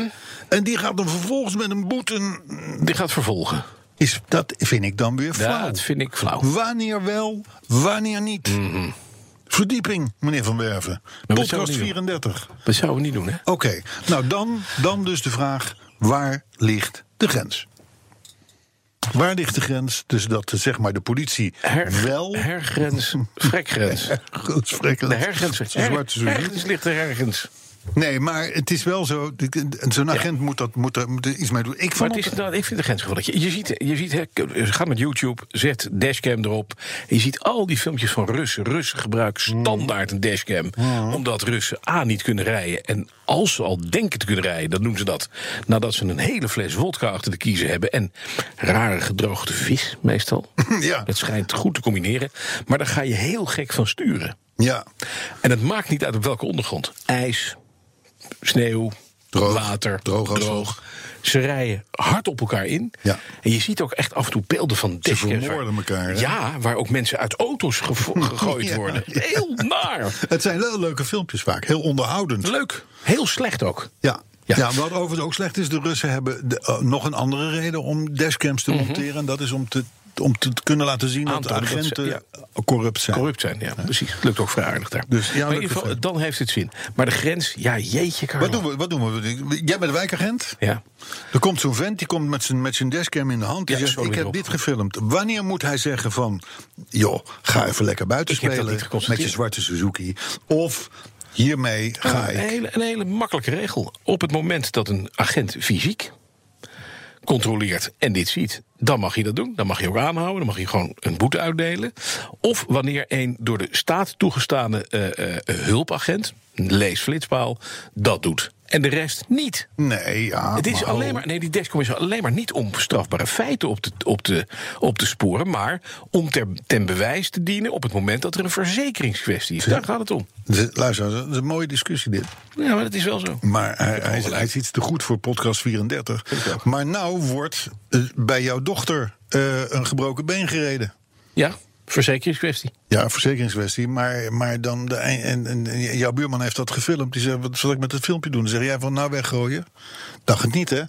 En die gaat dan vervolgens met een boete...
Die gaat vervolgen.
Is, dat vind ik dan weer flauw.
Dat vind ik flauw.
Wanneer wel, wanneer niet. Verdieping, meneer Van Werven.
dat zou ik
Podcast
niet doen.
34.
Dat zouden we niet doen, hè?
Oké, nou dan, dan dus de vraag: waar ligt de grens? Waar ligt de grens tussen dat eh, zeg maar de politie
Her,
wel. [LAUGHS]
Hergrens, frekgrens.
Goed spreken.
De hergrens.
Zwarte
Her,
Suzuki.
ergens ligt de hergrens.
Nee, maar het is wel zo. dit- Zo'n agent moet, dat, moet, daar, moet er iets mee doen. Ik
Maar
vond
het
het.
is, nou, ik vind de grens gevoelig. Je, je ziet, je ziet hè, ga met YouTube, zet dashcam erop. En je ziet al die filmpjes van Russen. Russen gebruiken
Hmm.
standaard een dashcam. Omdat Russen A niet kunnen rijden. En als ze al denken te kunnen rijden, dan doen ze dat. Nadat ze een hele fles wodka achter de kiezen hebben. En rare gedroogde vis meestal.
[LAUGHS] Ja.
Dat schijnt goed te combineren. Maar daar ga je heel gek van sturen.
Ja,
En het maakt niet uit op welke ondergrond. IJs, sneeuw,
Droog,
water,
droog als
Ze rijden hard op elkaar in.
Ja.
En je ziet ook echt af en toe beelden van dashcams.
vermoorden
waar-
elkaar, hè?
Ja, waar ook mensen uit auto's
[LAUGHS]
gevo- gegooid
Ja,
worden.
ja.
Heel naar.
het zijn wel leuke filmpjes vaak. Heel onderhoudend.
Leuk. Heel slecht ook.
Ja.
Ja.
Ja. wat overigens ook slecht is, de Russen hebben de- eh, nog een andere reden om dashcams te monteren. En dat is om te, om te kunnen laten zien dat de
Mhm. Aantonen dat ze-
agenten corrupt zijn.
Corrupt zijn, ja, precies. Lukt ook vrij aardig daar.
Dus, ja,
maar in
lukt
ieder geval,
het
dan heeft het zin. Maar de grens, ja, jeetje, Carlo.
Wat doen we? Wat doen we? Jij bent wijkagent.
Ja.
Er komt zo'n vent, die komt met zijn, met zijn dashcam in de hand. Die
Ja,
zegt,
sorry,
ik heb
Rob.
dit gefilmd. Wanneer moet hij zeggen van... joh, ga even lekker buiten
Ik heb dat
spelen
niet geconstateerd.
met je zwarte Suzuki. Of hiermee ga
Een
ik.
hele, een hele makkelijke regel. Op het moment dat een agent fysiek controleert en dit ziet, dan mag je dat doen. Dan mag je ook aanhouden, dan mag je gewoon een boete uitdelen. Of wanneer een door de staat toegestane eh, eh, hulpagent, lees flitspaal, dat doet. En de rest niet.
Nee, ja.
Het is
maar-
alleen maar, nee, die dashcam is alleen maar niet om strafbare feiten op te, op te, op te sporen, maar om ter, ten bewijs te dienen op het moment dat er een verzekeringskwestie is. Daar gaat het om.
De- Dus, Luister, dat is een mooie discussie dit.
Ja, maar dat is wel zo.
Maar hij, hij is, hij is iets te goed voor podcast 34. Maar nou wordt eh, bij jouw dochter eh, een gebroken been gereden.
Ja, verzekeringskwestie.
Ja, verzekeringskwestie. Maar, maar dan de, en, en, en jouw buurman heeft dat gefilmd. Die zegt, wat zal ik met het filmpje doen? Dan zeg jij van, nou weggooien. Dacht het niet, hè?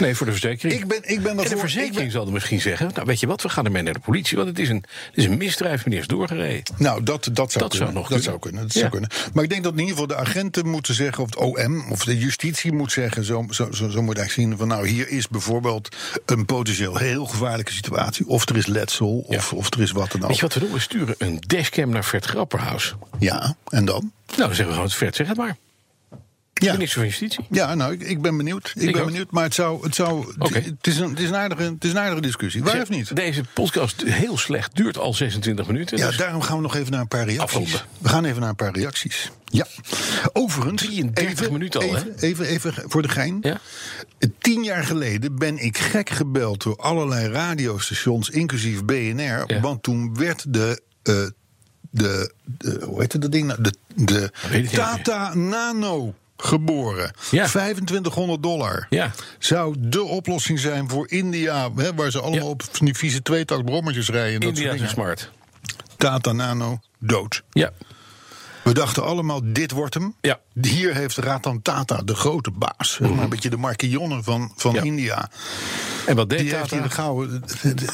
Nee, voor de verzekering.
Ik ben, ik ben
en de
daarvoor-
verzekering
ik ben-
zal er misschien zeggen... nou, weet je wat, we gaan ermee naar de politie... want het is een, het is een misdrijf, meneer is doorgereden.
nou, dat, dat zou
Dat zou
kunnen.
nog
dat
kunnen.
zou kunnen. Dat
Ja.
zou kunnen. Maar ik denk dat in ieder geval de agenten moeten zeggen... of het OM of de justitie moet zeggen... zo, zo, zo, zo moet hij zien van... nou, hier is bijvoorbeeld een potentieel heel gevaarlijke situatie. Of er is letsel, of, of er is wat dan ook.
Weet je wat we doen? We sturen een dashcam naar Vert Grapperhaus.
Ja, en dan?
Nou, dan zeggen we gewoon, Vert, zeg het maar.
Ja.
Minister van Justitie.
Ja, nou, ik, ik ben benieuwd. Ik,
Ik
ben
ook.
benieuwd, maar het zou... Het, zou, het-
Oké.
het, is een, het, is een aardige, het is een aardige discussie. Waar of niet?
Deze podcast heel slecht duurt al 26 minuten.
Ja,
dus
daarom gaan we nog even naar een paar reacties.
Afronden.
We gaan even naar een paar reacties. Ja. Overigens...
33
even,
minuten al, hè?
even, Even, even voor de gein.
Ja.
Tien jaar geleden ben ik gek gebeld door allerlei radiostations, inclusief BNR.
Ja.
Want toen werd de... eh, de, de, hoe heette dat ding nou? De, de
weet ik niet.
Tata Nano geboren.
Ja.
2500 dollar.
Ja.
Zou de oplossing zijn voor India, hè, waar ze allemaal
Ja.
op van die vieze tweetakt brommertjes rijden. en dat
India
soort
is een
dingen.
smart.
Tata Nano dood.
Ja.
We dachten allemaal, dit wordt hem.
Ja.
Hier heeft Ratan Tata, de grote baas. zeg maar, een beetje de marquillonne van, van
Ja.
India.
En wat deed
Die heeft hier
Tata?
de gouden...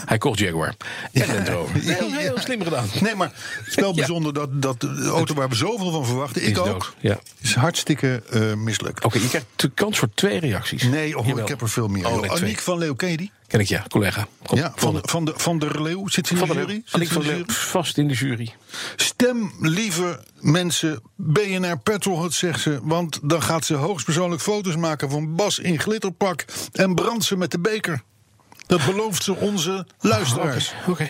Hij kocht Jaguar. En Land Rover. Heel, heel slim gedaan.
Nee, maar het is wel bijzonder dat, dat de auto waar we zoveel van verwachten... ik
Is dood,
ook,
ja.
is hartstikke eh, misselijk.
Oké, je krijgt de kans voor twee reacties.
Nee, oh,
Jawel.
ik heb er veel meer.
Oh, nee,
Aniek
twee.
van Leeuw, ken je die?
Ken ik ja, collega. Kom,
Ja, van, van, de, van der Leeuw. Zit ze in
van
de
der
jury?
Leeuw.
Zit ze
Aniek
in
van
de
der Leeuw,
jury?
vast in de jury.
Stem, lieve mensen, BNR Petrolhead, zegt ze. Want dan gaat ze hoogstpersoonlijk foto's maken van Bas in glitterpak... en brandt ze met de beker. Dat belooft ze onze luisteraars.
Oké.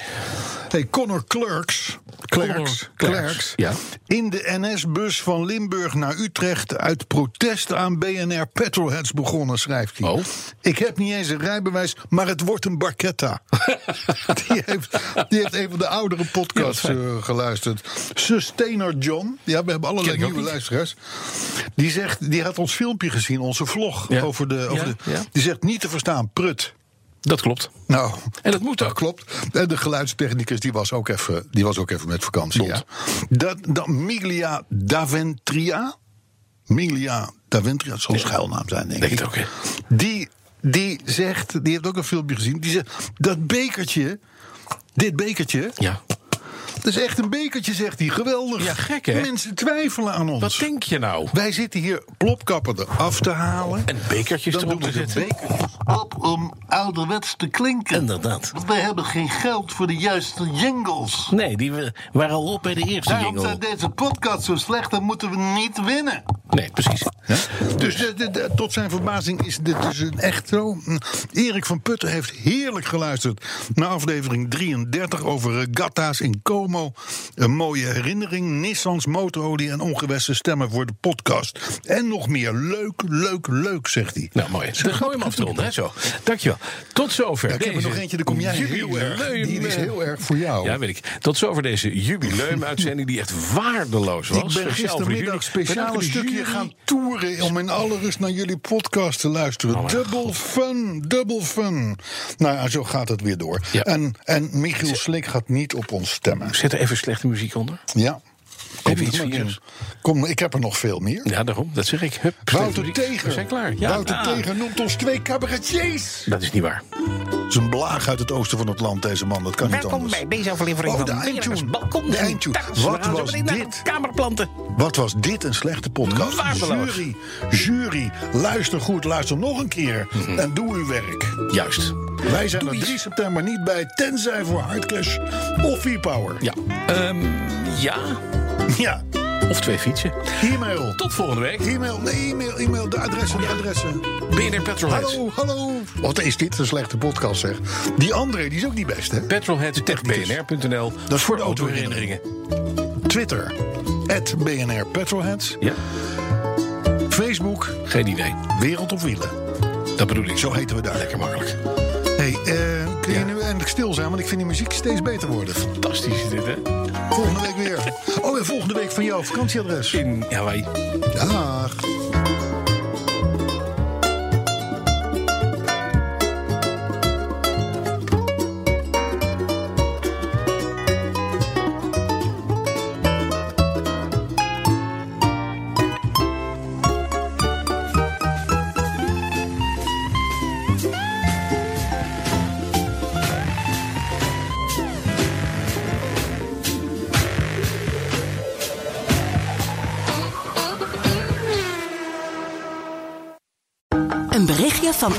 Hey, Connor Clerks. Clerks.
Connor
Clerks.
Clerks, ja.
In de NS-bus van Limburg naar Utrecht uit protest aan BNR Petrolheads begonnen, schrijft hij.
Oh.
Ik heb niet eens een rijbewijs, maar het wordt een
[LAUGHS]
barquetta. die, heeft, die heeft een van de oudere podcasts eh, geluisterd. Sustainer John. Ja, we hebben allerlei
Ken ik ook
nieuwe
niet.
luisteraars. Die, zegt, die had ons filmpje gezien, onze vlog.
Ja.
Over de, over
Ja,
de,
ja.
Die zegt niet te verstaan, prut.
Dat klopt.
Nou,
En dat moet ook.
klopt. En de geluidstechnicus die was ook even, die was ook even met vakantie. Ja.
Dot.
Dat, dat Miglia Daventria. Miglia Daventria, dat zal een schuilnaam zijn, denk
Denk
ik.
het ook, hè.
Die, die zegt, die heeft ook een filmpje gezien. Die zegt, dat bekertje, dit bekertje,
Ja.
dat is echt een bekertje, zegt hij. Geweldig.
Ja, gek, hè?
Mensen twijfelen aan ons.
Wat denk je nou?
Wij zitten hier plopkappen eraf te halen.
En bekertjes
Dan
erop
doen
te
we de
zetten.
bekertjes op om ouderwets te klinken.
Inderdaad.
Want wij hebben geen geld voor de juiste jingles.
Nee, die we- waren al op bij de eerste
Daarom zijn
jingle.
deze podcasts zo slecht, dan moeten we niet winnen.
Nee, precies.
Dus de- de- de- tot zijn verbazing is dit dus een echt zo. Erik van Putten heeft heerlijk geluisterd naar aflevering 33 over regatta's in Como. Een mooie herinnering, Nissans motorolie en ongewenste stemmen voor de podcast. En nog meer. Leuk, leuk, leuk, zegt hij.
Nou, mooi. Dan gooi je hem af te ronden, hè, zo. Dankjewel. Tot zover.
ik heb er
deze
nog eentje, daar kom jij heel erg.
jubileum-
Die is heel erg voor jou.
Ja, weet ik. Tot zover deze jubileum-uitzending die echt waardeloos was.
Ik ben
Speciaal voor de
gistermiddag
jury.
speciaal een
Bedankt voor de
stukje
jury.
gaan toeren... om in alle rust naar jullie podcast te luisteren.
Oh mijn
double fun, double fun. Nou ja, zo gaat het weer door.
Ja.
En, en Michiel Slik gaat niet op ons stemmen.
Zet er even slechte muziek onder.
Ja. Kom,
iets
maar,
virus?
Jim. Kom, ik heb er nog veel meer.
Ja, daarom. Dat zeg ik. Hup, slechte
Wouter
muziek.
Teger.
We zijn klaar. Ja,
Wouter
ah,
Teger noemt ons twee cabaretiers.
Dat is niet waar.
Dat is een blaag uit het oosten van het land, deze man. Dat kan niet
Welkom
anders.
bij deze aflevering
Oh,
van
de eindtune.
Bereners Balkon.
De
en
eindtune.
Terras. We
Wat
gaan zo
was
meteen naar de
dit?
Kamerplanten.
Wat was dit een slechte podcast?
Waardeloos.
Jury, jury, luister goed, luister nog een keer. En doe uw werk.
Juist.
Wij zijn
Mhm. Doe
er
iets.
3 september niet bij, tenzij voor Hardclash of V-Power.
Ja. Ehm, ja.
ja.
Of twee fietsen.
E-mail.
Tot volgende week.
E-mail, nee, e-mail, e-mail, de adressen,
Oh
de adressen.
BNR Petrolheads.
Hallo, hallo. Wat is dit een slechte podcast, zeg. Die André, die is ook niet best, hè? Technicus.
Petrolheads.bnr.nl
is voor
voor
de
autoherinneringen.
Twitter, at BNR Petrolheads.
Ja,
Facebook,
geen idee.
Wereld op Wielen.
Dat bedoel ik.
Zo heten we daar.
Lekker makkelijk.
hey, eh, kun je nu eindelijk stil zijn? Want ik vind die muziek steeds beter worden.
Fantastisch is dit, hè?
Volgende week weer. Oh, en volgende week van jouw vakantieadres. Ah,
In Hawaii.
Dag.
Een berichtje van